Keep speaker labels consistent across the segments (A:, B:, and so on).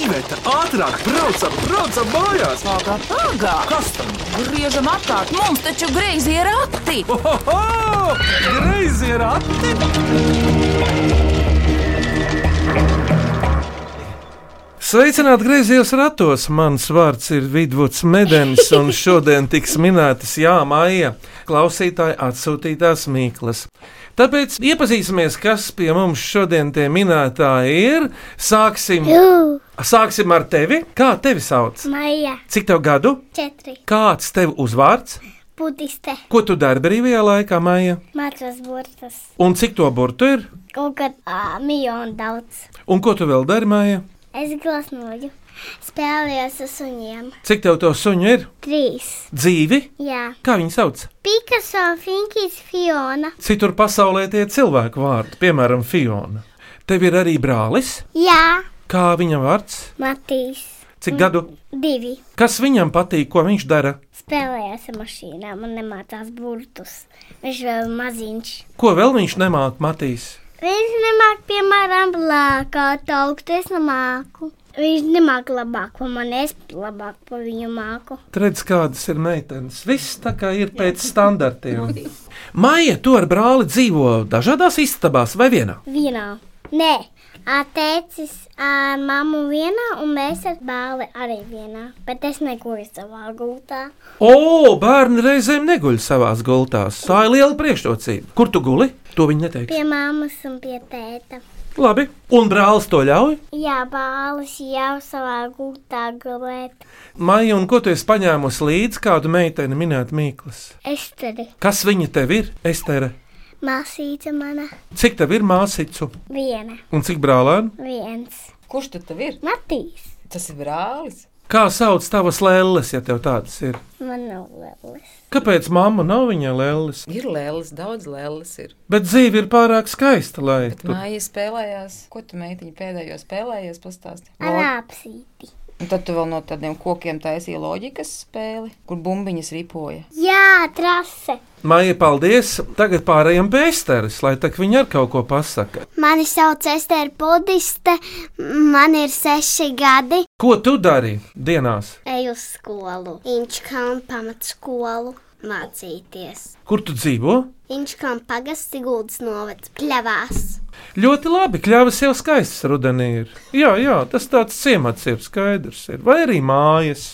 A: Iveta, ātrāk, braucam, braucam mājās!
B: Pagā, pagā!
A: Kas tam?
B: Griežam apkārt, mums taču greizi ir akti!
A: Ohoho! Greizi ir ati!
C: Sveicināti griezījos ratos! Mans vārds ir Vidvuds Medens, un šodien tiks minētas jāmāja klausītāja atsūtītās mīklas. Tāpēc iepazīsimies, kas pie mums šodien tie minētā ir. Sāksim,
D: Jū,
C: sāksim ar tevi. Kā tevi sauc?
D: maija,
C: Cik tev gadu?
D: četri,
C: Kāds tev uzvārds?
D: budiste,
C: Ko tu dari brīvajā laikā, māja?
D: mācās burtas,
C: Un cik to burtu ir?
D: kaut kad ā, miljonu daudz.
C: Un ko tu vēl dari, māja?
D: Es glasnoju, spēlējos ar suņiem.
C: Cik tev to suņu ir?
D: Trīs,
C: Dzīvi?
D: jā,
C: Kā viņi sauc?
D: Pikaso, Finkis, Fiona,
C: Citur pasaulē tie cilvēku vārdi, piemēram, Fiona. Tev ir arī brālis,
D: jā,
C: kā viņa vārds,
D: Matīs,
C: cik gadu,
D: divi.
C: kas viņam patīk, ko viņš dara,
D: Spēlējās ar mašīnām un nemācās burtus. Viņš vēl maziņš.
C: ko vēl viņš nemāk matīs.
D: Viņš nemāk, piemēram, lēkāt augt, es nemāku. Viņš nemāk labāk par mani, es labāk par viņu māku.
C: Redz, kādas ir meitenes. Viss tā kā ir pēc standartiem. Maija, tu ar brāli dzīvo dažādās istabās vai vienā.
D: Vienā. Nē, teicis ar mammu vienā, un mēs ar bāli arī vienā. Bet es negūstu savā gultā.
C: O, bērni reizēm neguļ savās gultās. Tā ir liela priekšrocība. Kur tu guli? To viņi neteiks.
D: Pie mammas un pie tēta.
C: Labi, un brālis to ļauj.
D: Jā, bālis jau savā gultā gulēt.
C: Maija, un ko tu esi paņēmusi līdzi kādu meiteni minēt Mīklas?
D: Es tur biju.
C: Kas viņa tev ir? Estere,
D: Māsīca mana
C: cik tev ir māsīcu
D: viena,
C: un cik brālēnu?
D: viens.
E: Kurš tad tev ir?
D: Matīs,
E: Tas ir brālis.
C: Kā sauc tavas lēles, ja tev tādas ir?
D: man nav lielas.
C: Kāpēc mamma nav viņa lēles?
E: Ir lēlis, daudz lēlis. Ir.
C: Bet dzīve ir pārāk skaista, lai
E: Bet māja spēlējās. Ko tu meitiņa pēdējo spēlējies? Pastāsti. Lo-
D: Arāpsīti.
E: Un Tad tu vēl no tādiem kokiem taisīji loģikas spēli, kur bumbiņas ripoja.
D: Jā, trase.
C: Māja, paldies! Tagad pārējiem pie Esteres, lai tak viņa ar kaut ko pasaka.
D: Mani sauc Estera Budiste, man ir seši gadi.
C: Ko tu dari dienās?
D: Eju uz skolu, Inčkānu pamatskolu mācīties.
C: Kur tu dzīvo?
D: Inčkānu pagasts Siguldas novads pļavās.
C: Ļoti labi, kļavas jau skaistas rudenī ir. Jā, jā, tas tāds ciemats ir skaidrs, ir. vai arī mājas.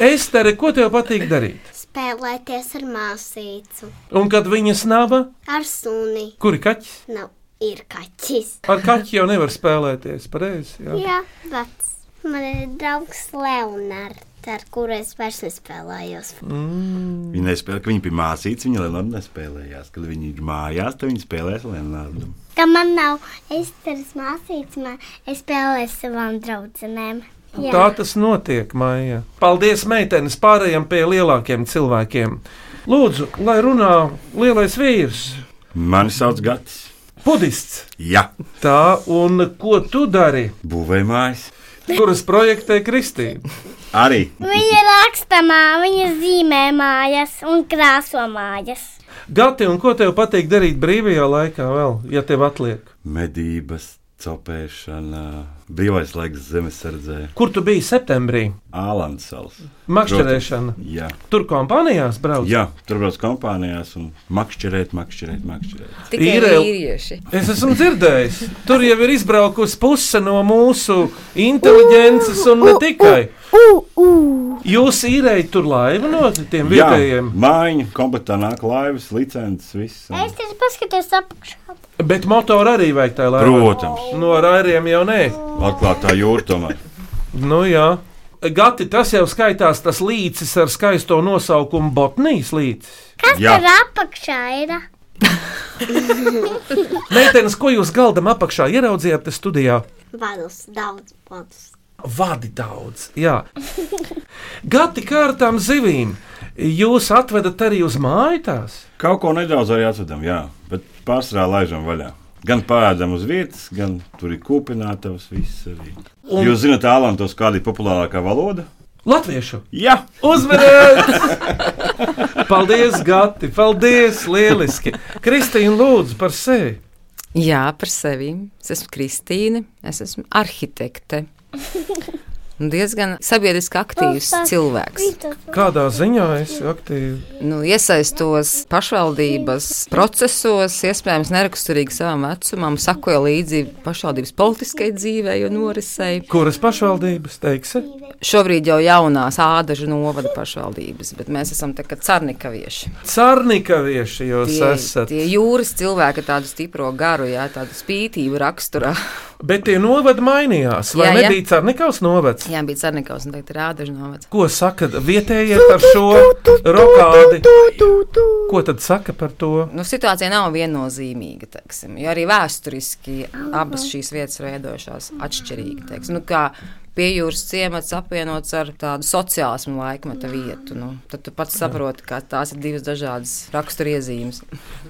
C: Estere, ko tev patīk darīt?
D: Spēlēties ar māsīcu,
C: Un kad viņas naba,
D: ar suni.
C: kuri kaķis?
D: Nav ir kaķis.
C: Ar kaķi jau nevar spēlēties, pareizi. Jā.
D: Jā, vecs. Man ir draugs Leonards, ar kuru es vairs nespēlējos.
F: Viņa nespēlēja, ka viņa bija māsīca, viņa Lenardu nespēlējās. Kad viņa ir mājās, tad viņa spēlēs Lenardu.
D: Ka man nav Esteras māsīca, man es spēlēju ar savām draudzenēm. Jā.
C: Tā tas notiek, Maija. Paldies, meitenes, pārējiem pie lielākiem cilvēkiem. Lūdzu, lai runā lielais vīrs,
F: Mani sauc Gatis.
C: budists.
F: Jā,
C: Tā, un ko tu dari?
F: būvēja mājas.
C: Kuras projektē Kristīna?
F: Arī
D: Viņa raksta mā, viņa zīmē mājas un krāso mājas.
C: Gati, un ko tev patīk darīt brīvajā laikā vēl, ja tev atliek?
F: medības, cepēšana, brīvais laiks zemesardzē,
C: Kur tu biji septembrī?
F: Ālandsals.
C: Makšķerēšana.
F: Jā.
C: Tur kompānijās brauc.
F: Jā, tur brauc kompānijās un makšķerēt, makšķerēt, makšķerēt.
E: Tikai
C: Ir-
E: vīrieši.
C: Es esmu dzirdējis, tur jau ir izbraukusi puse no mūsu inteligences, un ne tikai. Jūs īrējat tur laivu no tiem vietējiem,
F: mājiņa, komplektā nāk laivas, licences, viss. un-
D: Es tikai paskatos apakšā.
C: bet motoru arī vajag tajā laivā.
F: Protams,
C: No rāriem jau nē.
F: atklātā jūra tomēr.
C: Nu, jā. Gati, tas jau skaitās tas līcis ar skaisto nosaukumu Botnijas līcis.
D: Kas
F: Jā.
D: tur apakšā ir?
C: Meitenes, ko jūs galdam apakšā ieraudzījāt te studijā?
D: Vadus, daudz vadus.
C: Vadi daudz, jā. Gati kā ar tām zivīm. Jūs atvedat arī uz māju tās?
F: Kaut ko nedaudz arī atvedam, jā, bet pārsvarā laižam vaļā. Gan pārādām uz vietas, gan tur ir kūpinātavas, viss arī. Un... Jūs zināt, Ālantos kāda ir populārākā valoda?
C: Latviešu!
F: Jā,
C: Uzmanības! Paldies, Gati! Paldies! Lieliski! Kristīna, lūdzu, par sevi!
E: Jā, par sevi. Es esmu Kristīne, es esmu arhitekte.
G: Un diezgan sabiedriski aktīvs cilvēks.
C: Kādā ziņā es aktīvi
G: Nu, iesaistos pašvaldības procesos, iespējams, neraksturīgi savam vecumam, sakoja līdzi pašvaldības politiskajai dzīvei un norisei.
C: Kuras pašvaldības teiksi?
G: Šobrīd jau jaunās ādažu novada pašvaldības, bet mēs esam tā kā carnikavieši.
C: Cārnikavieši jūs
G: Tie,
C: esat.
G: tie jūras cilvēki ar tādu stipro garu, jā, tādu spītību raksturā.
C: Bet tie novadi mainījās, vai
G: Jā, jā.
C: nebija Cārnikavs novads?
G: jā, bija carnikavs un tagad ir ādažu novads.
C: Ko saka vietējie par šo rokādi? Ko tad saka par to?
G: Nu, situācija nav viennozīmīga, teiksim, jo arī vēsturiski abas šīs vietas veidojušās atšķirīgi. Teiksim, nu, kā pie jūras ciemats apvienots ar tādu sociālismu laikmeta vietu, nu, tad tu pats saproti, ka tās ir divas dažādas raksturiezīmes.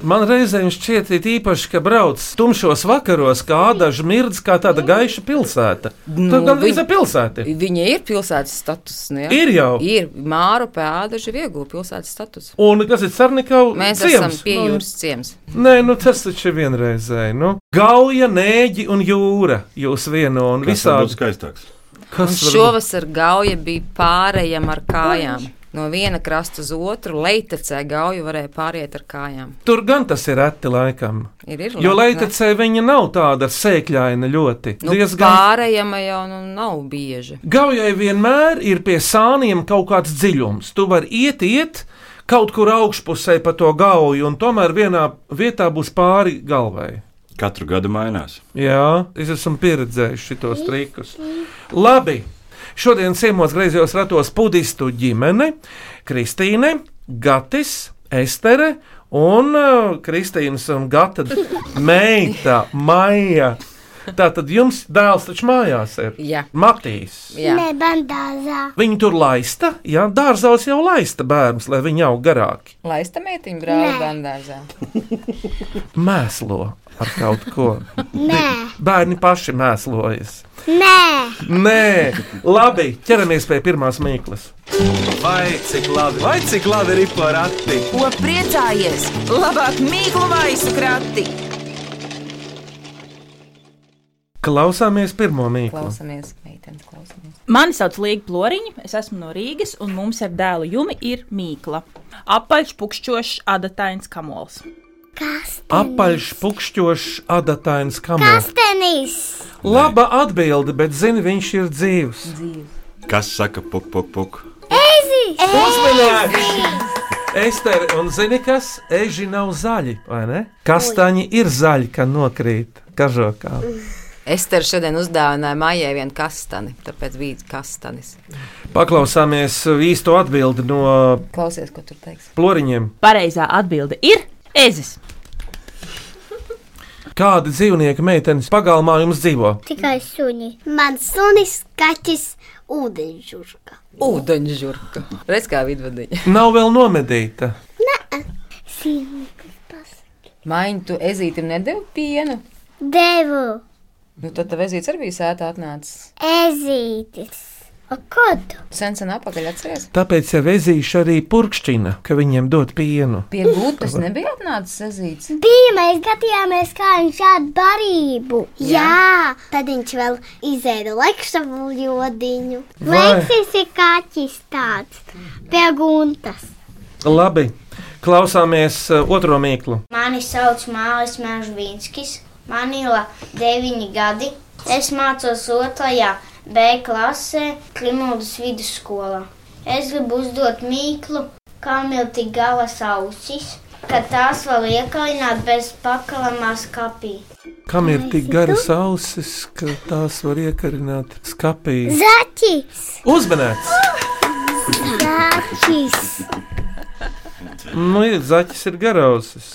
C: Man reizēm šķiet, it īpaši, ka brauc tumšos vakaros, kā daži mirdz, kā tāda gaiša pilsēta.
G: Nu,
C: Tur gan
G: vi-
C: visa pilsēta.
G: Viņa ir pilsētas status. Nu, jā.
C: Ir jau.
G: Ir māra pēdaži viegli pilsētas status.
C: Un kas ir Cārnikavs?
G: Mēs esam pie jūras ciems.
C: Nē, nu tas taču ir vienreizēji. Nu. Gauja, nēģi un jūra jūs vieno un
F: Visādi
C: visādi.
F: skaistāks.
G: Un
C: Kas var būt?
G: šovasar gauja bija pārējām ar kājām. No viena krasta uz otru leitecē gauju varēja pāriet ar kājām.
C: Tur gan tas ir reti laikam.
G: Ir, ir
C: Jo
G: labi, ne?
C: leitecē viņa nav tāda sēkļaina ļoti.
G: nu, pārējām jau nu, nav bieži.
C: Gaujai vienmēr ir pie sāniem kaut kāds dziļums. Tu vari iet, iet kaut kur augšpusē pa to gauju, un tomēr vienā vietā būs pāri galvai.
F: Katru gadu mainās.
C: Jā, es esmu pieredzējis šitos trikus. Labi, šodien ciemos griezos ratos pudistu ģimene, Kristīne, Gatis, Estere un uh, Kristīnas un Gata meita Maija. Tā tad jums dēls taču mājās ir
G: Jā.
C: Matīs.
G: Jā.
D: Nē, bandāzā.
C: Viņi tur laista, jā, dārzos jau laista bērns, lai viņi aug garāki.
E: Laista meitiņa brāli
D: Nē.
E: bandāžā.
C: Mēslo ar kaut ko.
D: Nē,
C: Bērni paši mēslojas.
D: nē.
C: Nē, labi, ķeramies pie pirmās mīklas.
A: Vai cik labi, vai cik labi ir porati?
B: Ko priecājies? Labāk mīklu maisu krati.
C: Klausāmies pirmo mīklu.
E: Klausamies, meitenes, klausamies.
H: Mani sauc Līga Floriņa, es esmu no Rīgas, un mums ar dēlu Jumi ir mīkla. Apaļš, pukšķošs, adatains kamols.
D: Kas?
C: Apaļš, pukšķošs, adatains kamera.
D: Kastenis.
C: Laba atbilde, bet zini, viņš ir dzīvs.
F: Kas saka, puk, puk, puk?
C: Uzmanīgs! Ester, un zini kas? Eži nav zaļi, vai ne? Kastaņi ir zaļi, kad nokrīt kažokā.
G: Ester šodien uzdāvināja Maijai vienu kastani, tāpēc bija kastanis.
C: Paklausāmies īsto atbildi no
E: Klausies, ko tur teiks.
C: ploriņiem.
H: Pareizā atbilde ir ezis.
C: Kāda dzīvnieka meitenes pagalmā jums dzīvo?
D: Tikai suņi. Man sunis, kaķis, ūdenžurka.
G: Ūdeņžurka. Redz, kā vidvadiņa.
C: Nav vēl nomedīta.
E: Maiņa, tu ezītim nedēvi pienu.
D: Devu.
E: Nu, tad tev ezīts arī bija sēta atnācis.
D: Ezītis. O, ko tu?
E: Sen sen apakaļ atceries.
C: Tāpēc jau ezīšu arī purkšķina, ka viņiem dod pienu.
E: Pie gūtas nebija atnācis ezīts.
D: Bija mēs gadījāmies, kā viņš šādu barību. Jā, Jā tad viņš vēl izēda lekšavu jodiņu.
C: Vai.
D: Leksis ir kaķis tāds pie guntas.
C: Labi, klausāmies uh, otro mīklu.
I: Mani sauc Mālis Mēžvīnskis, man ir 9 gadi. Es mācos 2. B klasē, Klimūdas vidusskolā. Es gribu uzdot mīklu, kam ir tik gala ausis, ka tās vēl iekalināt bez pakalamās kapī.
C: Kam ir tik garas ausis, ka tās var iekarināt skapī?
D: Zaķis!
C: Uzmanēts!
D: Zaķis!
C: Nu, ir zaķis ir garausis.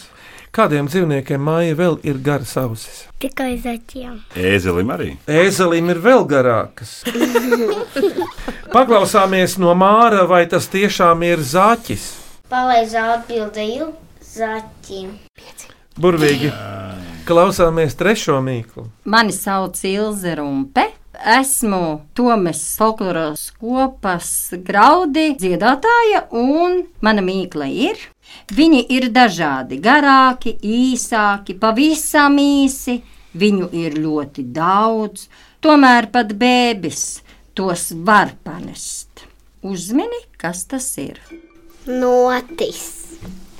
C: Kādiem dzīvniekiem māja vēl ir garas ausis?
D: Tikai zaķiem.
F: Ēzelim arī.
C: Ēzelim ir vēl garākas. Paklausāmies no māra, vai tas tiešām ir zaķis.
I: Pareizā atbildēju zaķim.
C: Burvīgi. Klausāmies trešo mīklu.
J: Mani sauc Ilze Rumpe. Esmu Tomas Folkloras kopas graudi dziedātāja un mana mīkla ir. Viņi ir dažādi, garāki, īsāki, pavisam īsi. Viņu ir ļoti daudz, Tomēr pat bēbis tos var panest. Uzmini, kas tas ir.
D: Notis.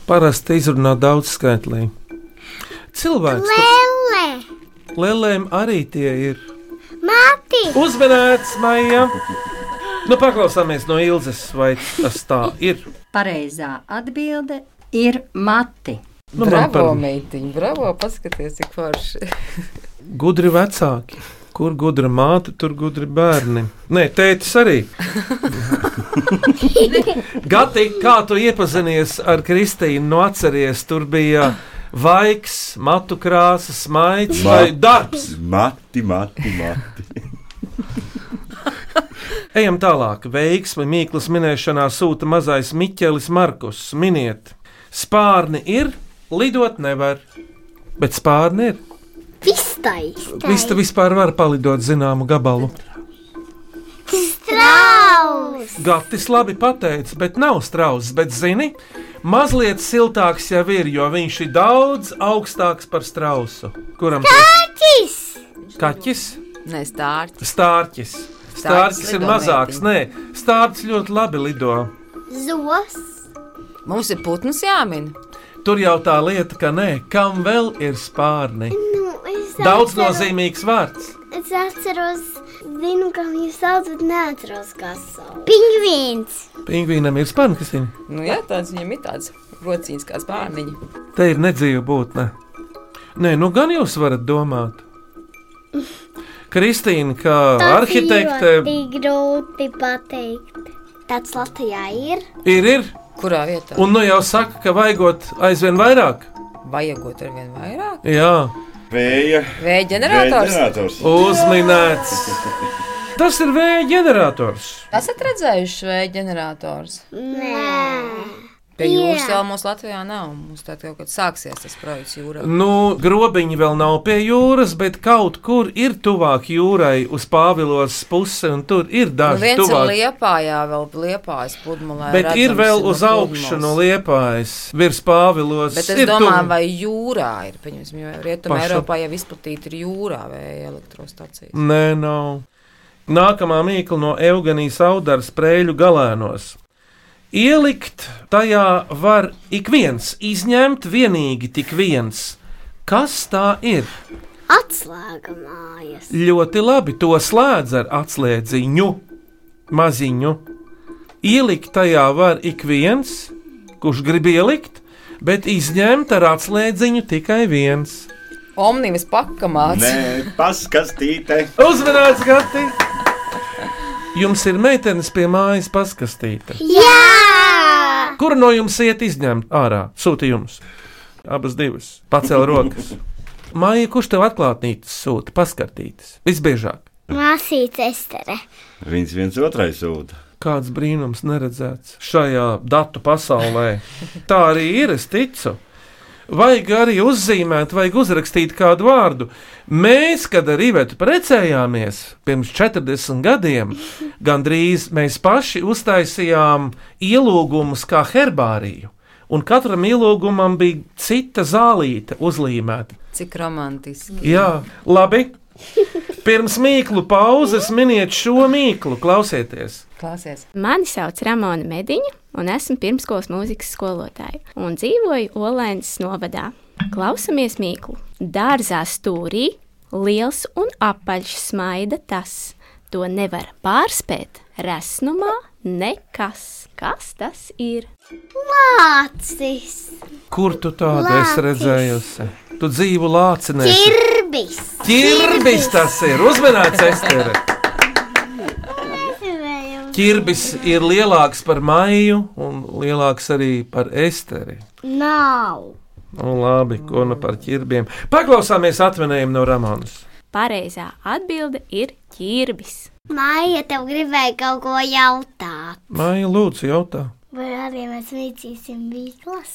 C: Parasti izrunā daudz skaitlī. Cilvēks to-
D: Lele.
C: lelēm arī tie ir.
D: Mati.
C: Uzmanīts, Maija! Nu, paklausāmies no Ilzas, vai tas tā ir.
J: Pareizā atbilde ir mati.
C: Nu, man
G: bravo,
C: par
G: meitiņa, bravo, paskaties, cik forši.
C: gudri vecāki. Kur gudra māte, tur gudri bērni. Nē, tētis arī. Gati, kā tu iepazinies ar Kristīnu? No atceries, tur bija vaiks, matu krāsa, smaids vai darbs.
F: Mati, mati, mati.
C: Ejam tālāk. Veiksmi Mīklas minēšanā sūta mazais Miķelis Markus. Miniet, spārni ir, lidot nevar. Bet spārni ir.
D: Vistai.
C: Vista vispār var palidot zināmu gabalu.
D: Strauss.
C: Gatis labi pateicis, bet nav strauss. Bet, zini, mazliet siltāks jau ir, jo viņš ir daudz augstāks par strausu. Kuram tas
D: Kaķis.
C: ir kaķis?
G: Nē, stārt.
C: Stārķis. Stārķis ir
G: lido
C: mazāks. Nē, stārķis ļoti labi lido.
D: Zos.
G: Mums ir putns jāmin.
C: Tur jau tā lieta, ka nē, kam vēl ir spārni?
D: Nu, es
C: Daudz
D: atceros-
C: nozīmīgs vārds.
D: Es atceros, zinu, kā viņu sauc, bet neatceros, kas sauc. Pingvīns.
C: Pingvīnam ir spārni, kas ir.
G: Nu, jā, tāds viņam ir tāds rociņš kā spārniņi.
C: Te ir nedzīva būtne. Nē, nu gan jūs varat domāt. Kristīna, kā arhitekte,
D: Ļoti grūti pateikt. Tāds Latvijā ir.
C: ir, ir,
G: Kurā vietā? Un...
C: un nu jau saka, ka vajagot aizvien vairāk.
G: Vajagot ar vien vairāk.
C: Jā,
F: Vēja
G: Vēja ģenerators.
F: ģenerators.
C: uzminēts. Tas ir vēja ģenerators.
G: Esat redzējuši vēja ģenerators?
D: Nē.
G: Pie
D: Jā.
G: jūras vēl mums Latvijā nav. Mums tā kaut kad sāksies tas projekts jūrā.
C: Nu, grobiņi vēl nav pie jūras, bet kaut kur ir tuvāk jūrai, uz Pāvilos puses, un tur ir
G: Nu,
C: daži
G: viens ir
C: tuvāk.
G: liepā, jā, vēl liepā, es pudmalē.
C: Bet ir vēl uz augšu no liepājas, virs pāvilos.
G: Bet es
C: ir
G: domāju,
C: tuvu.
G: vai jūrā ir, pieņemsim, jo Rietumē
C: Paša- Mm.
G: Eiropā jau izplatīta ir jūrā vēja elektrostacijas.
C: Nē, nav. Nākamā mīkla no Eugenijas Audars prēļu galēnos. Ielikt tajā var ik viens, izņemt vienīgi tik viens. Kas tā ir?
D: Atslēga mājas.
C: Ļoti labi, to slēdz ar atslēdziņu, maziņu. Ielikt tajā var ik viens, kurš grib ielikt, bet izņemt ar atslēdziņu tikai viens.
G: Omnibus pakamāts.
F: Nē, paskastīte.
C: Uzmanīts, Gati! Jums ir meitenes pie mājas paskastīta.
D: Jā!
C: Kur no jums iet izņemt ārā? Sūti jums. Abas divas. Pacēl rokas. Māja, kurš tev atklātnītes sūta, paskatītas? Visbiežāk.
D: Māsīca Estere.
F: Viņas viens otrai sūta.
C: Kāds brīnums neredzēts šajā datu pasaulē. Tā arī ir, es ticu. Vajag arī uzzīmēt, vajag uzrakstīt kādu vārdu. Mēs, kad ar Rībētu precējāmies pirms 40 gadiem, gandrīz mēs paši uztaisījām ielūgumus kā herbāriju. Un katram ielūgumam bija cita zālīte uzlīmēta.
G: Cik romantiski.
C: Jā, labi. Pirms mīklu pauzes miniet šo mīklu, klausieties!
G: Klāsies.
K: Mani sauc Ramona Mediņa, un esmu pirmskolas mūzikas skolotāja. Un dzīvoju Olēnas novadā. Klausamies mīklu. Dārzā stūrī liels un apaļš smaida tas. To nevar pārspēt. Resnumā nekas. Kas tas ir?
D: Lācis.
C: Kur tu tādu esi
D: Lācis.
C: redzējusi? Tu dzīvo lācinē.
D: Kirbis.
C: Ķirbis tas ir. Uzmanīts, Estere. Ķirbis ir lielāks par māju un lielāks arī par esteri.
D: Nav.
C: Nu, labi, ko nu par ķirbiem. Paklausāmies atvinējumu no Ramonas.
K: Pareizā atbilde ir ķirbis.
D: Māja tev gribēja kaut ko jautāt.
C: Māja, lūdzu, jautā.
D: Vai arī mēs mītīsim mīklas?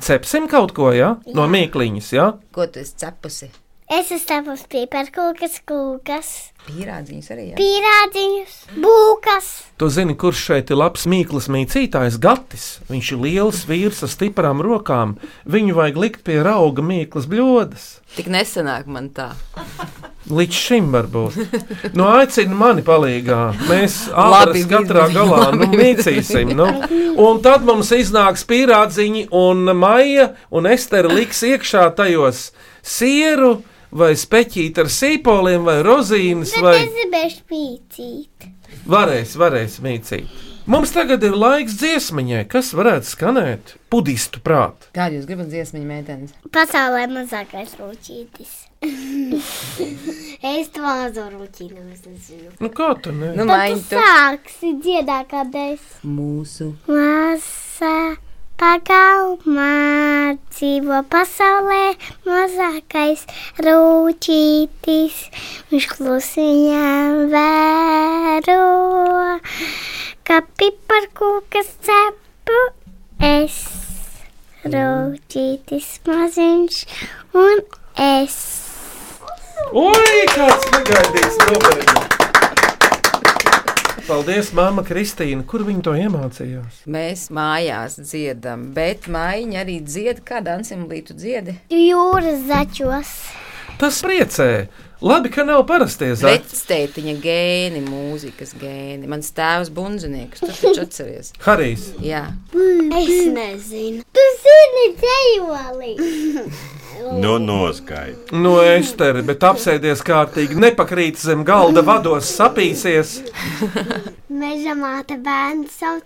C: Cepsim kaut ko, jā? No mīkliņas, jā?
G: Ko tu esi cepusi?
D: Es uztapu pieperkūkas, kūkas,
E: Pierādziņas arī. Jā.
D: pīrādziņus, būkas.
C: Tu zini, kurš šeit ir labs mīklas mīcītājs, Gatis. Viņš ir liels vīrs ar stiprām rokām. Viņu vajag likt pie auga mīklas bļodas.
G: Tik nesenāk man tā.
C: Līdz šim varbūt. Nu, aicini mani palīgā. Mēs
G: Labi,
C: abi katrā
G: vidi,
C: galā nu,
G: labi, vidi.
C: mīcīsim. Nu. Un tad mums iznāks pīrādziņi, un Maija un Estere liks iekšā tajos sieru vai speķīt ar sīpoliem vai rozīnes.
D: Bet
C: Vai...
D: es gribēju spīcīt.
C: Varēs, varēs mīcīt. Mums tagad ir laiks dziesmai, kas varētu skanēt pudistu prātu.
E: Kādu jūs gribat dziesmu, meitenes?
D: Pasaulē mazākais rūķītis. es to azoru rūķīnu nezinu.
C: Nu, kā tu ne?
D: Nu, Tad tu sāksi dziedā, kad es.
E: Mūsu.
D: Masa pagalmā dzīvo pasaulē mazākais rūķītis. Viņš klusiņām vēro, kā piparkūkas cepu es. Rūķītis maziņš un es.
C: Ui, kāds negaidīts nobrīd! Paldies, māma Kristīna, kur viņa to iemācījās?
E: Mēs mājās dziedam, bet mājiņa arī dzied, kā dansimlītu dziedi.
D: Jūras zaķos.
C: Tas priecē! Labi, ka nav parastie zaķi.
G: Vecstētiņa gēni, mūzikas gēni. Mans tēvs bundzinieks, tu taču atceries.
C: Harijs,
G: Jā,
D: Es nezinu. Mm, Tu zini, dzīvoli.
F: Nu, noskaidro.
C: no Estere, Nu, bet apsēdies kārtīgi, nepakrīt zem galda, vados sapīsies.
D: Meža māte bērns sauc,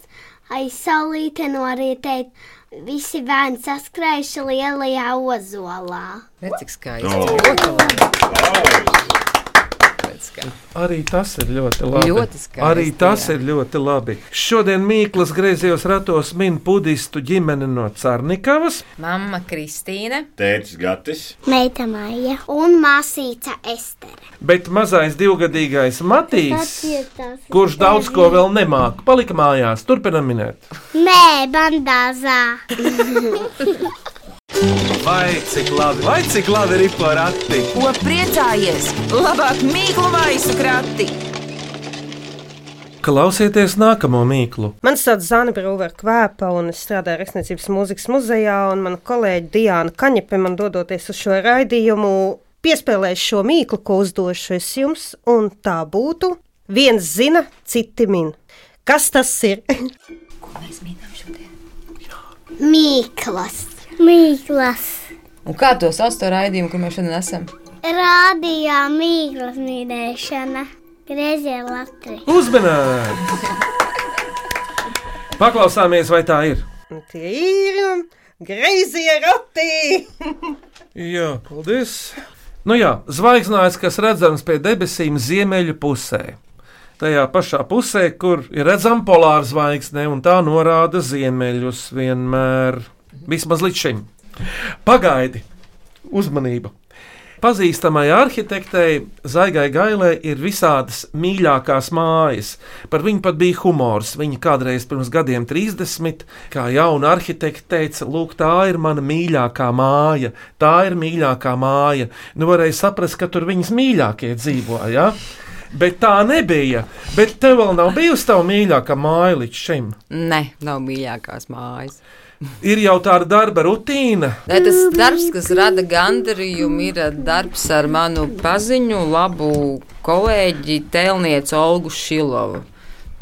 D: aiz saulīte norītēt. Visi bērni saskrējuši lielajā ozolā.
G: redz, cik
F: Oh.
G: skaisti.
C: Arī tas ir ļoti labi.
G: Ļoti skaisti,
C: Arī tas jā.
G: jā.
C: ir ļoti labi. Šodien Mīklas griezījos ratos min pudistu ģimeni no Cārnikavas.
E: Mama Kristīne.
F: Tētis Gatis.
D: Meita Maija un māsīca Estere.
C: Bet mazais divgadīgais Matīs,
D: Atcietās.
C: kurš daudz ko vēl nemāca, palika mājās. Turpinam minēt.
D: Nē, bandāzā.
A: Vai cik labi, vai cik labi ir porakti?
B: Ko priecājies? Labāk mīklu maisu krati!
C: Klausieties nākamo mīklu.
L: Mani sauc Zana Brūvera Kvēpa, un es strādāju Rakstniecības mūzikas muzejā, un mana kolēģe Diana Kaņepe man dodoties uz šo raidījumu piespēlēs šo mīklu, ko uzdošu es jums, un tā būtu viens zina, citi min. Kas tas ir?
D: Mīklas. Mīklas.
E: Un kā to sauc to raidījumu, kur mēs šodien esam?
D: Rādījā mīklas nīdēšana. Griezie latri.
C: Uzmanīgi! Paklausāmies, vai tā ir.
L: Un Tie ir greizie rati!
C: Jā, paldies. Nu jā, zvaigznājs, kas redzams pie debesīm ziemeļu pusē. Tajā pašā pusē, kur ir redzama polāra zvaigzne, un tā norāda ziemeļus vienmēr. Vismaz līdz šim. Pagaidi, uzmanība! Pazīstamai arhitektei Zaigai Gailē ir visādas mīļākās mājas. Par viņu pat bija humors. Viņa kādreiz pirms gadiem 30, kā jauna arhitekte, teica, lūk, tā ir mana mīļākā māja, tā ir mīļākā māja. Nu, varēja saprast, ka tur viņas mīļākie dzīvoja. Ja? Bet tā nebija. Bet tev vēl nav bijusi tā mīļākā māja līdz šim.
G: Nē, nav mīļākās mājas.
C: Ir jau tāda darba rutīna.
G: Nē, tas darbs, kas rada gandarījumu, ir ā, darbs ar manu paziņu, labu kolēģi, tēlnieci Olgu Šilovu.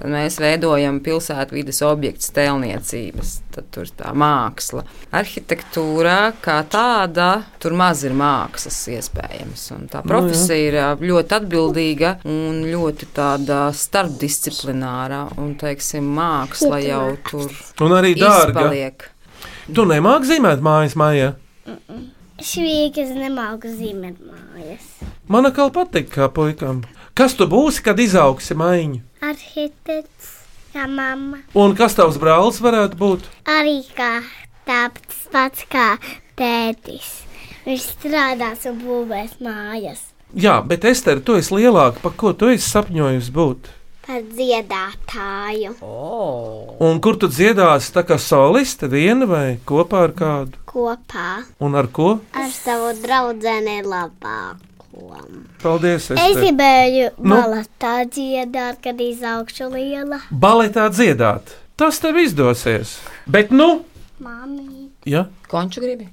G: Tad mēs veidojam pilsētvidas objektu tēlniecības, tad tur ir tā māksla. Arhitektūrā kā tāda, tur maz ir mākslas iespējams. un Tā profesija ir ā, ļoti atbildīga un ļoti tāda starpdisciplinārā, un teiksim, māksla jau tur
C: Un arī dārga.
G: izpaliek.
C: Tu nemāki zīmēt mājas mājā.
D: Švīgas nemāku zīmēt mājas.
C: Man atkal patīk, kā puikam. Kas tu būsi, kad izaugsi maiņu?
D: Arhitekts, kā mamma.
C: Un kas tavs brālis varētu būt?
D: arī kā tāds pats kā tētis. Viņš strādās un būvēs mājas.
C: Jā, bet Ester, tu esi lielāka, par ko tu esi sapņojusi būt.
D: par dziedātāju
C: Oh. Un kur tu dziedāsi tā kā soliste viena vai kopā ar kādu?
D: kopā
C: Un ar ko?
D: ar savu draugu labāko.
C: Paldies!
D: Es
C: Ester.
D: gribēju
C: Nu?
D: baletā dziedāt, kad izaugšu liela.
C: baletā dziedāt. Tas tev izdosies. Bet, nu,
D: Māmiņa.
C: ja
G: Konču gribi?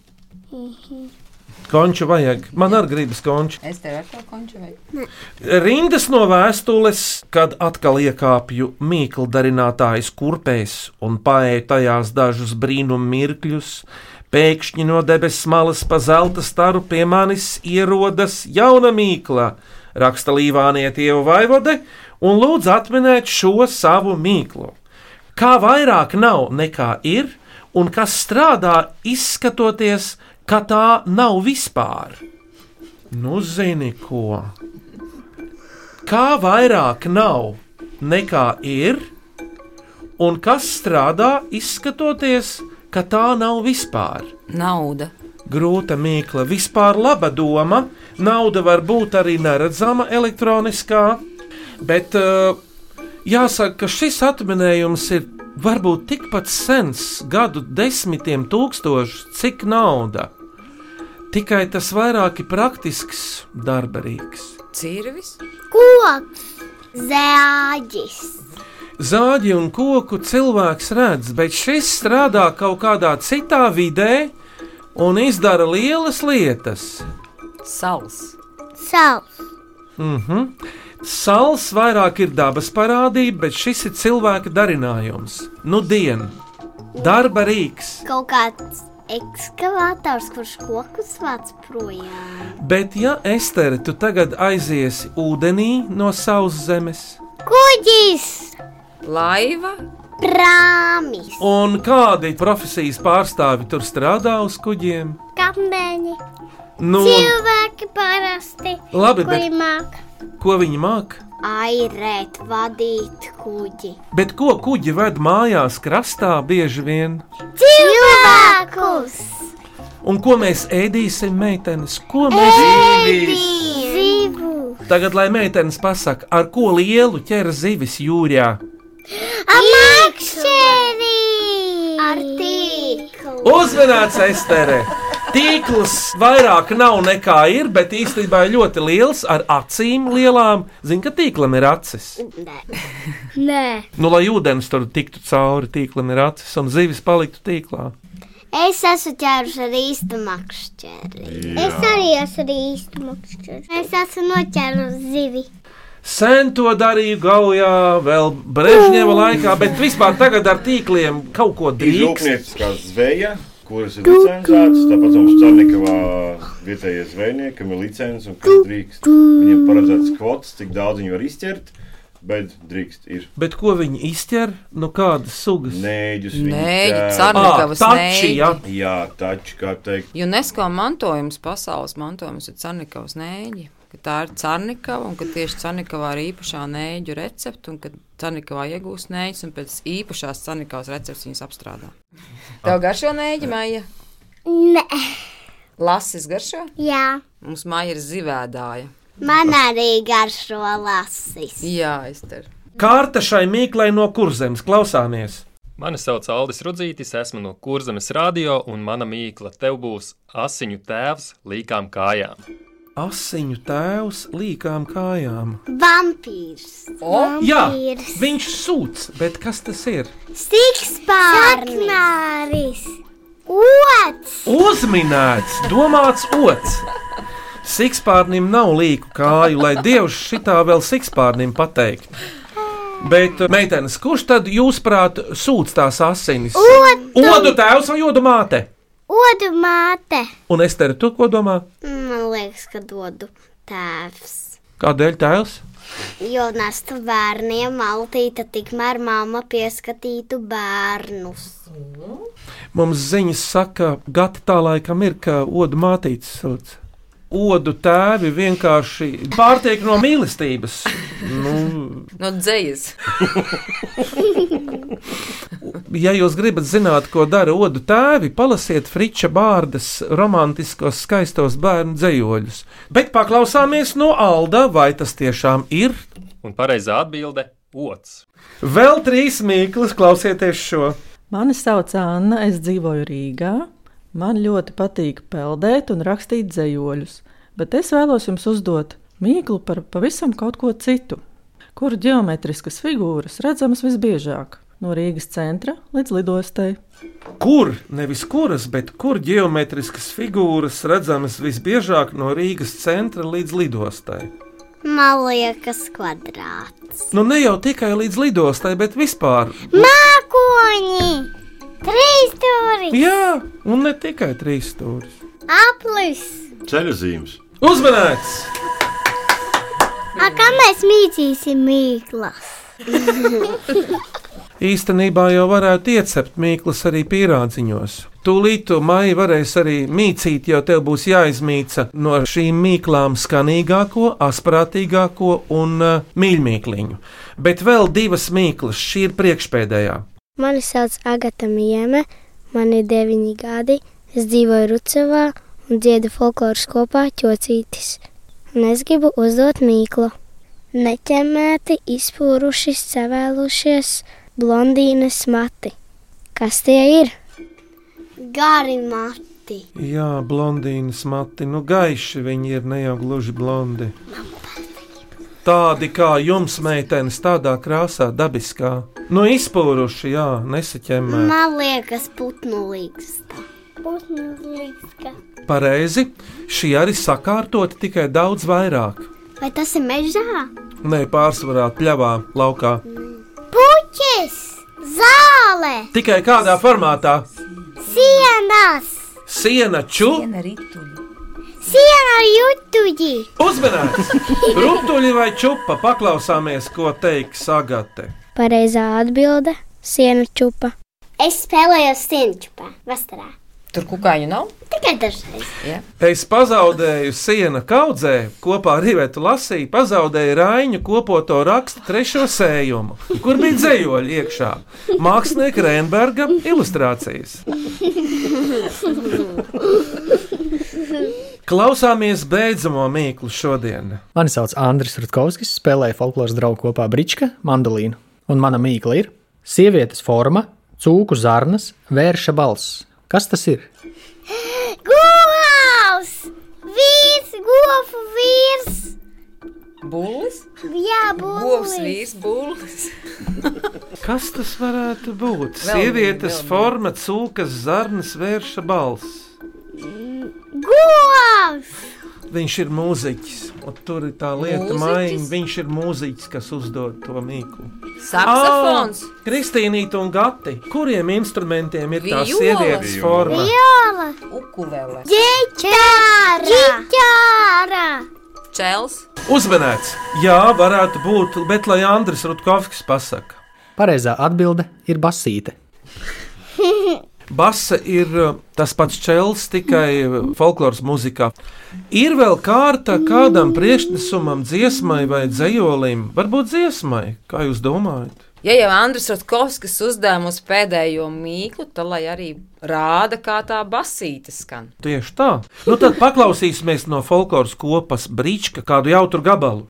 C: konču vajag, man arī gribas konču.
G: Es tev ar to konču vajag.
C: Rindas no vēstules, kad atkal iekāpju mīklarinātājas kurpēs un paēju tajās dažus brīnumu mirkļus. Pēkšņi no debesu malas pa zelta staru pie manis ierodas jauna mīkla, raksta Līvānietē Vaivode, un lūdz atminēt šo savu mīklu. Kā vairāk nav nekā ir, un kas strādā, izskatoties, ka tā nav vispār. Nu, zini ko? Kā vairāk nav nekā ir, un kas strādā, izskatoties, ka tā nav vispār.
G: Nauda.
C: Grūta mīkla, vispār laba doma. Nauda var būt arī neredzama, elektroniskā, bet eh, jāsaka, ka šis atminējums ir varbūt tikpat sens, gadu desmitiem tūkstošu, cik nauda. Tikai tas vairāk ir praktisks, darbarīgs.
G: Cirvis?
D: Koks, zēģis,
C: Zāģi un koku cilvēks redz, bet šis strādā kaut kādā citā vidē un izdara lielas lietas.
G: Sals.
D: sals,
C: Mm -hmm. Sals vairāk ir dabas parādība, bet šis ir cilvēka darinājums. Nu, diena, darba rīks,
D: kaut kāds ekskavators, kurš kokus vāc projām.
C: bet ja Estere, tu tagad aiziesi ūdenī no savas zemes,
D: Kuģis,
G: laiva,
D: prāmis,
C: un kādi profesijas pārstāvi tur strādā uz kuģiem?
D: kapmeņi,
C: Nu,
D: cilvēki parasti,
C: Labi,
D: kuri
C: bet-
D: māk
C: ko viņi māca?
D: airēt, vadīt kuģi.
C: Bet ko kuģi ved mājās krastā bieži vien?
D: Cilvēkus!
C: Un ko mēs ēdīsim, meitenes? Ko mēs ēdīsim?
D: Zivu!
C: Tagad, lai meitenes pasakā, ar ko lielu ķer zivis jūrā.
D: Amakšķerī! Ar tīklu!
C: Uzmanīts, Estere! Tīkls vairāk nav nekā ir, bet īstenībā ir ļoti liels ar acīm lielām. Zini, ka tīklam ir acis.
D: Nē,
C: Nu, lai ūdens tur tiktu cauri, tīklam ir acis un zivis paliktu tīklā.
D: es esmu ķērusi ar īstu makšķeri.
C: Jā.
D: Es arī esmu ar īstu makšķeri. Es esmu noķērusi zivi.
C: Sen to darīju Gaujā, vēl Brezhneva laikā, bet vispār tagad ar tīkliem kaut ko
F: Ir
C: drīkst.
F: rūpnieciskā zveja, kuras ir licencētas. Tāpat mums Čārnikavā vietējie zvejniekam ir licence un kas drīkst. Viņiem paredzēts kvots, cik daudz viņi var izķert, bet drīkst ir.
C: Bet ko viņi izķer? Nu, kādas sugas?
F: Nēģus,
G: Nēģi, Carnikavas
C: Ah, tači,
G: nēģi.
C: jā.
F: Jā, taču, kā teikt,
G: UNESCO mantojums, pasaules mantojums ir Carnikavas nēģi. ka Tā ir Carnikava, un ka tieši Carnikavā ir īpašā nēģu recepte, un ka Carnikavā iegūst nēģis, un pēc īpašās Carnikavas receptes viņas apstrādā. Tev garšo nēģi, Maija?
D: Nē,
G: Lasis garšo?
D: jā.
G: Mums māja ir zivēdāja.
D: Man arī garšo lasis.
G: Jā, Ester.
C: Kārta šai mīklai no kurzemes klausāmies.
M: Mani sauc Aldis Rudzītis, esmu no Kurzemes radio, un mana mīkla tev būs asiņu tēvs līkām kājām.
C: Asiņu tēvs līkām kājām.
D: Vampīrs.
C: Jā,
D: Vampīrs.
C: viņš sūdz, bet kas tas ir?
D: Sikspārnis. Ots.
C: Uzminēts, domāts otrs. Sikspārnim nav līku kāju, lai dievs šitā vēl sikspārnim pateikt. Bet, meitenes, kurš tad jūsuprāt sūdz tās asinis?
D: Odu.
C: Odu tēvs vai odu māte?
D: Odu māte.
C: Un es teru, tu ko domā?
D: Man liekas, ka dodu tēvs.
C: Kādēļ tēvs?
D: Jo nestu bērniem maltīte, tikmēr mamma pieskatītu bērnus.
C: Mums ziņas saka, gati tā laikam ir, ka odu mātītes sūdz. Odu tēvi vienkārši pārtiek no mīlestības. Nu,
G: No dzējas.
C: ja jūs gribat zināt, ko dara odu tēvi, palasiet Friča Bārdas romantiskos skaistos bērnu dzējoļus. Bet paklausāmies no Alda, vai tas tiešām ir
M: Un pareizā atbilde Ots.
C: Vēl trīs mīklas, klausieties šo.
N: Mani sauc Anna, es dzīvoju Rīgā. Man ļoti patīk peldēt un rakstīt dzējoļus, bet es vēlos jums uzdot mīklu par pavisam kaut ko citu. Kur geometriskas figūras redzamas visbiežāk? No Rīgas centra līdz lidostai.
C: Kur, nevis kuras, bet kur geometriskas figūras redzamas visbiežāk no Rīgas centra līdz lidostai?
D: Man liekas, kvadrāts.
C: Nu, ne jau tikai līdz lidostai, bet vispār.
D: Mākoņi! Trīs stūri!
C: Jā, un ne tikai trīs stūris.
D: Aplis!
F: Ceļu zīmes.
C: Uzmanīts!
D: A, kā mēs mītīsim mīklas?
C: Īstenībā jau varētu iecept mīklas arī pīrādziņos. Tūlīt tu maija varēs arī mīcīt, jo tev būs jāizmīca no šīm mīklām skanīgāko, asprātīgāko un uh, mīļmīkliņu. Bet vēl divas mīklas, šī ir priekšpēdējā.
O: Mani sauc Agata Mieme, man ir deviņi gadi. Es dzīvoju Rucavā un dziedu folkloras kopā ķocītis. Un es gribu uzdot mīklu. Neķemēti izpūruši, savēlušies blondīnes mati. Kas tie ir?
D: Gari mati.
C: Jā, blondīnas mati, nu gaiši viņi ir ne jau gluži blondi. Tādi kā jums, meitenes, tādā krāsā, dabiskā. Nu, izpūruši, jā, nesaķemēti.
D: Man liekas, putnulīgs. Putnulīgs.
C: Pareizi, šī arī sakārtota tikai daudz vairāk.
D: Vai tas ir mežā?
C: Nē, pārsvarā pļavā, laukā.
D: Puķis, zāle,
C: Tikai kādā formātā
D: sienas,
C: - siena, čūska.
D: siena ar jutuģi.
C: Uzmanīgs! Rūptuļi vai čūpa, paklausāmies, ko teiks Agate.
O: Pareizā atbilde - siena čupa.
D: Es spēlēju sienčupā vasarā.
G: Tur kukaiņu nav.
D: Tikai dažreiz.
G: Yeah.
C: Es pazaudēju sienu kaudzē, kopā ar Rībētu lasīju, pazaudēju Rainu kopoto rakstu trešo sējumu, kur bija dzējoļi iekšā. Mākslinieka Rēnberga ilustrācijas. Klausāmies beidzamo mīklu šodien.
P: Mani sauc Andris Rutkovskis, spēlēju folkloras draugu kopā Brička, mandolīnu, un mana mīkla ir sievietes forma, cūku zarnas, vērša balss. Kas tas ir?
D: Gulāvs! Vīrs, gofu vīrs!
G: Būlis?
D: Jā,
G: Govs,
D: būs!
G: vīrs, būlis.
C: Kas tas varētu būt?
G: Vēl
C: Sievietes
G: viena, vēl viena.
C: forma, cūkas zarnas, vērša balss.
D: Gulāvs!
C: Viņš ir mūziķis, un tur ir tā lieta,
G: Mūziķis?
C: maiņa. Viņš ir mūziķis, kas uzdod to mīklu.
G: Saksofons?
C: Ā, Oh, Kristīnīte un Gati, kuriem instrumentiem ir tā
G: Viola.
C: sievietes forma?
D: Viola!
G: Oh. Ukulele.
D: Ģitāra! Ģitāra!
G: Čels.
C: Uzmanēts! Jā, varētu būt, bet lai Andris Rutkovskis pasaka.
P: Pareizā atbilde ir basīte.
C: Basa ir uh, tas pats čels, tikai uh, folkloras mūzikā. Ir vēl kārta kādam priekšnesumam, dziesmai vai dzējolim, varbūt dziesmai, kā jūs domājat?
G: Ja jau Andris Rutkovskis uzdeva mums pēdējo mīklu, tad lai arī rāda, kā tā basīte skan.
C: Tieši tā. Nu, tad paklausīsimies no folkloras kopas brīčka kādu jautru gabalu.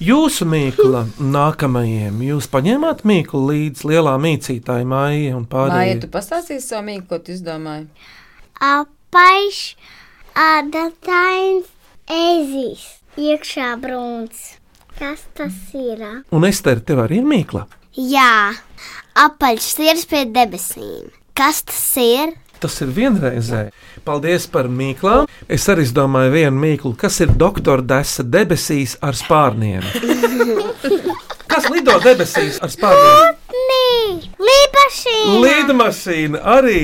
C: Jūsu mīkla nākamajiem, jūs paņēmāt mīklu līdz lielā mīcītāja māja un
E: Māja,
C: pārējiem.
E: tu pastāstīsi savu mīklu, ko tu izdomāji?
D: Apaiš adatains ezīs. Iekšā brūns. Kas tas ir?
C: Un Ester, tev arī ir mīkla.
D: Jā, apaļš sirds pie debesīm. Kas tas ir?
C: Tas ir vienreizē. Paldies par mīklām. Es arī izdomāju vienu mīklu, kas ir doktora desa debesīs ar spārniem. Kas lido debesīs ar spārniem?
D: Nē, līpašīna.
C: Līdmašīna arī.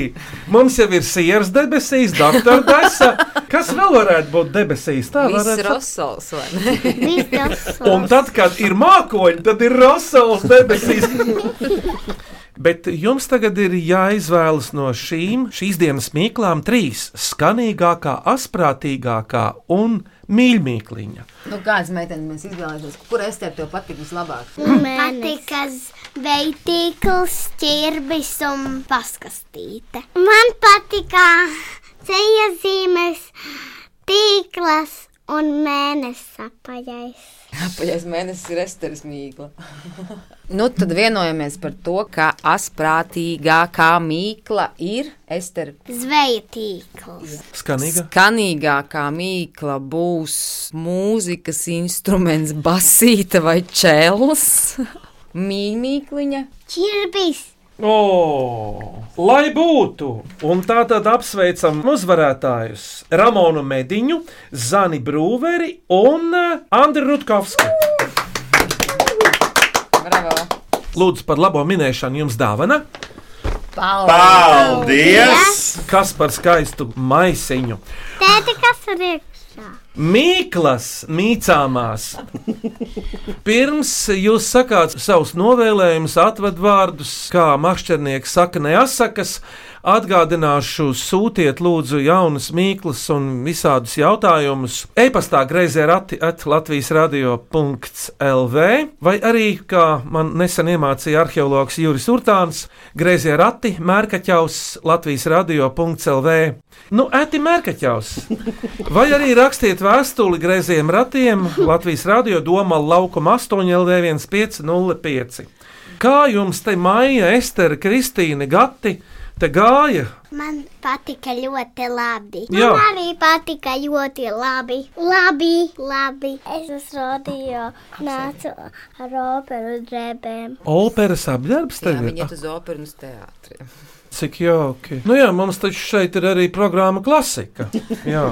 C: Mums jau ir sieras debesīs, doktora desa. Kas vēl varētu būt debesīs? Tā
G: Viss
C: varētu
G: Rosals, vai ne?
C: Un tad, kad ir mākoņi, tad ir rosals debesīs. Bet jums tagad ir jāizvēlas no šīm šīs dienas mīklām trīs - skanīgākā, asprātīgākā un mīļākā.
G: Nu, kādas meitenes mēs izvēlēsimies? Kur es tev tev patīk vislabāk?
D: Patikas veitīkls, ķirbis un paskastīte. Man patika ceļa zīmes, tīklas un mēnesis apaļais.
E: Apaļais mēnesis ir Esteris mīkla.
G: Nu, tad vienojamies par to, ka asprātīgākā mīkla ir Ester.
D: Zveja tīkls.
C: Skanīga?
G: Skanīgākā mīkla būs mūzikas instruments, basīta vai čels. Mīmīkliņa.
D: Ķirbis.
C: O, lai būtu! Un tā tad apsveicam uzvarētājus Ramonu Mediņu, Zani Brūveri un eh, Andri Rutkovski. Lūdzu, par labo minēšanu jums dāvana.
D: Paldies!
C: Kas par skaistu maisiņu?
D: Tēti, kas ir iekšā?
C: Mīklas, mīcāmās. Pirms jūs sakāt savus novēlējumus, atvadvārdus, kā makšķernieks saka, neasakas, atgādināšu, sūtiet lūdzu jaunas mīklas un visādus jautājumus. E-pastā greizē rati at Latvijas radio.lv vai arī, kā man nesen iemācīja arheologs Juris Urtāns, greizē rati mērkaķaus Latvijas radio.lv. Nu, ēti mērkaķaus! Vai arī rakstiet vēstuli greiziem ratiem Latvijas Rādio Doma laukuma 8,1505. Kā jums te maija, Estere, Kristīne, Gati, te gāja?
D: Man patika ļoti labi.
C: Jā.
D: Man arī patika ļoti labi. Labi, labi. Es uz rodīju, nācu ar operu drēbēm.
C: Operas apģērbs
G: Jā,
C: tev
G: viņi
C: ir.
G: iet uz operas teātri.
C: Cik jauki. Nu jā, mums taču šeit ir arī programma klasika. Jā.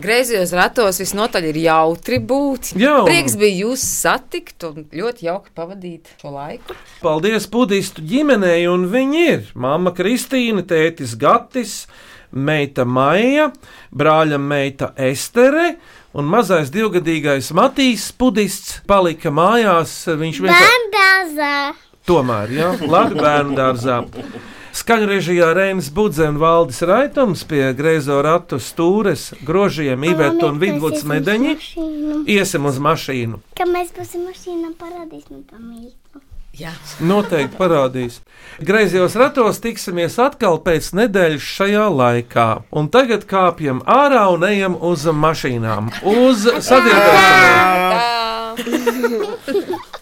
G: Griezījos ratos, visnotaļ ir jautri būt.
C: Jā, un-
G: Prieks bija jūs satikt un ļoti jauki pavadīt šo laiku.
C: Paldies budistu ģimenei, un viņi ir mamma Kristīna, tētis Gatis, meita Maija, brāļa meita Estere. Un mazais divgadīgais Matīs Pudists palika mājās. Viņš vienkārši
D: Bandāzā.
C: tomēr, jā, labi, bērnu dārzā. Skaņrežijā Rēns Budze un Valdis Raitums pie grēzo ratu stūres, grožiem, īvērtu un vidvuds medeņi. Iesim uz mašīnu.
D: Ka mēs būsim nu, mašīnā paradīsim to mīklu.
G: Jā.
C: Noteikti parādīs. Greizajos ratos tiksimies atkal pēc nedēļas šajā laikā. Un tagad kāpjam ārā un ejam uz mašīnām. Uz sadzirdēšanu!
D: Tā.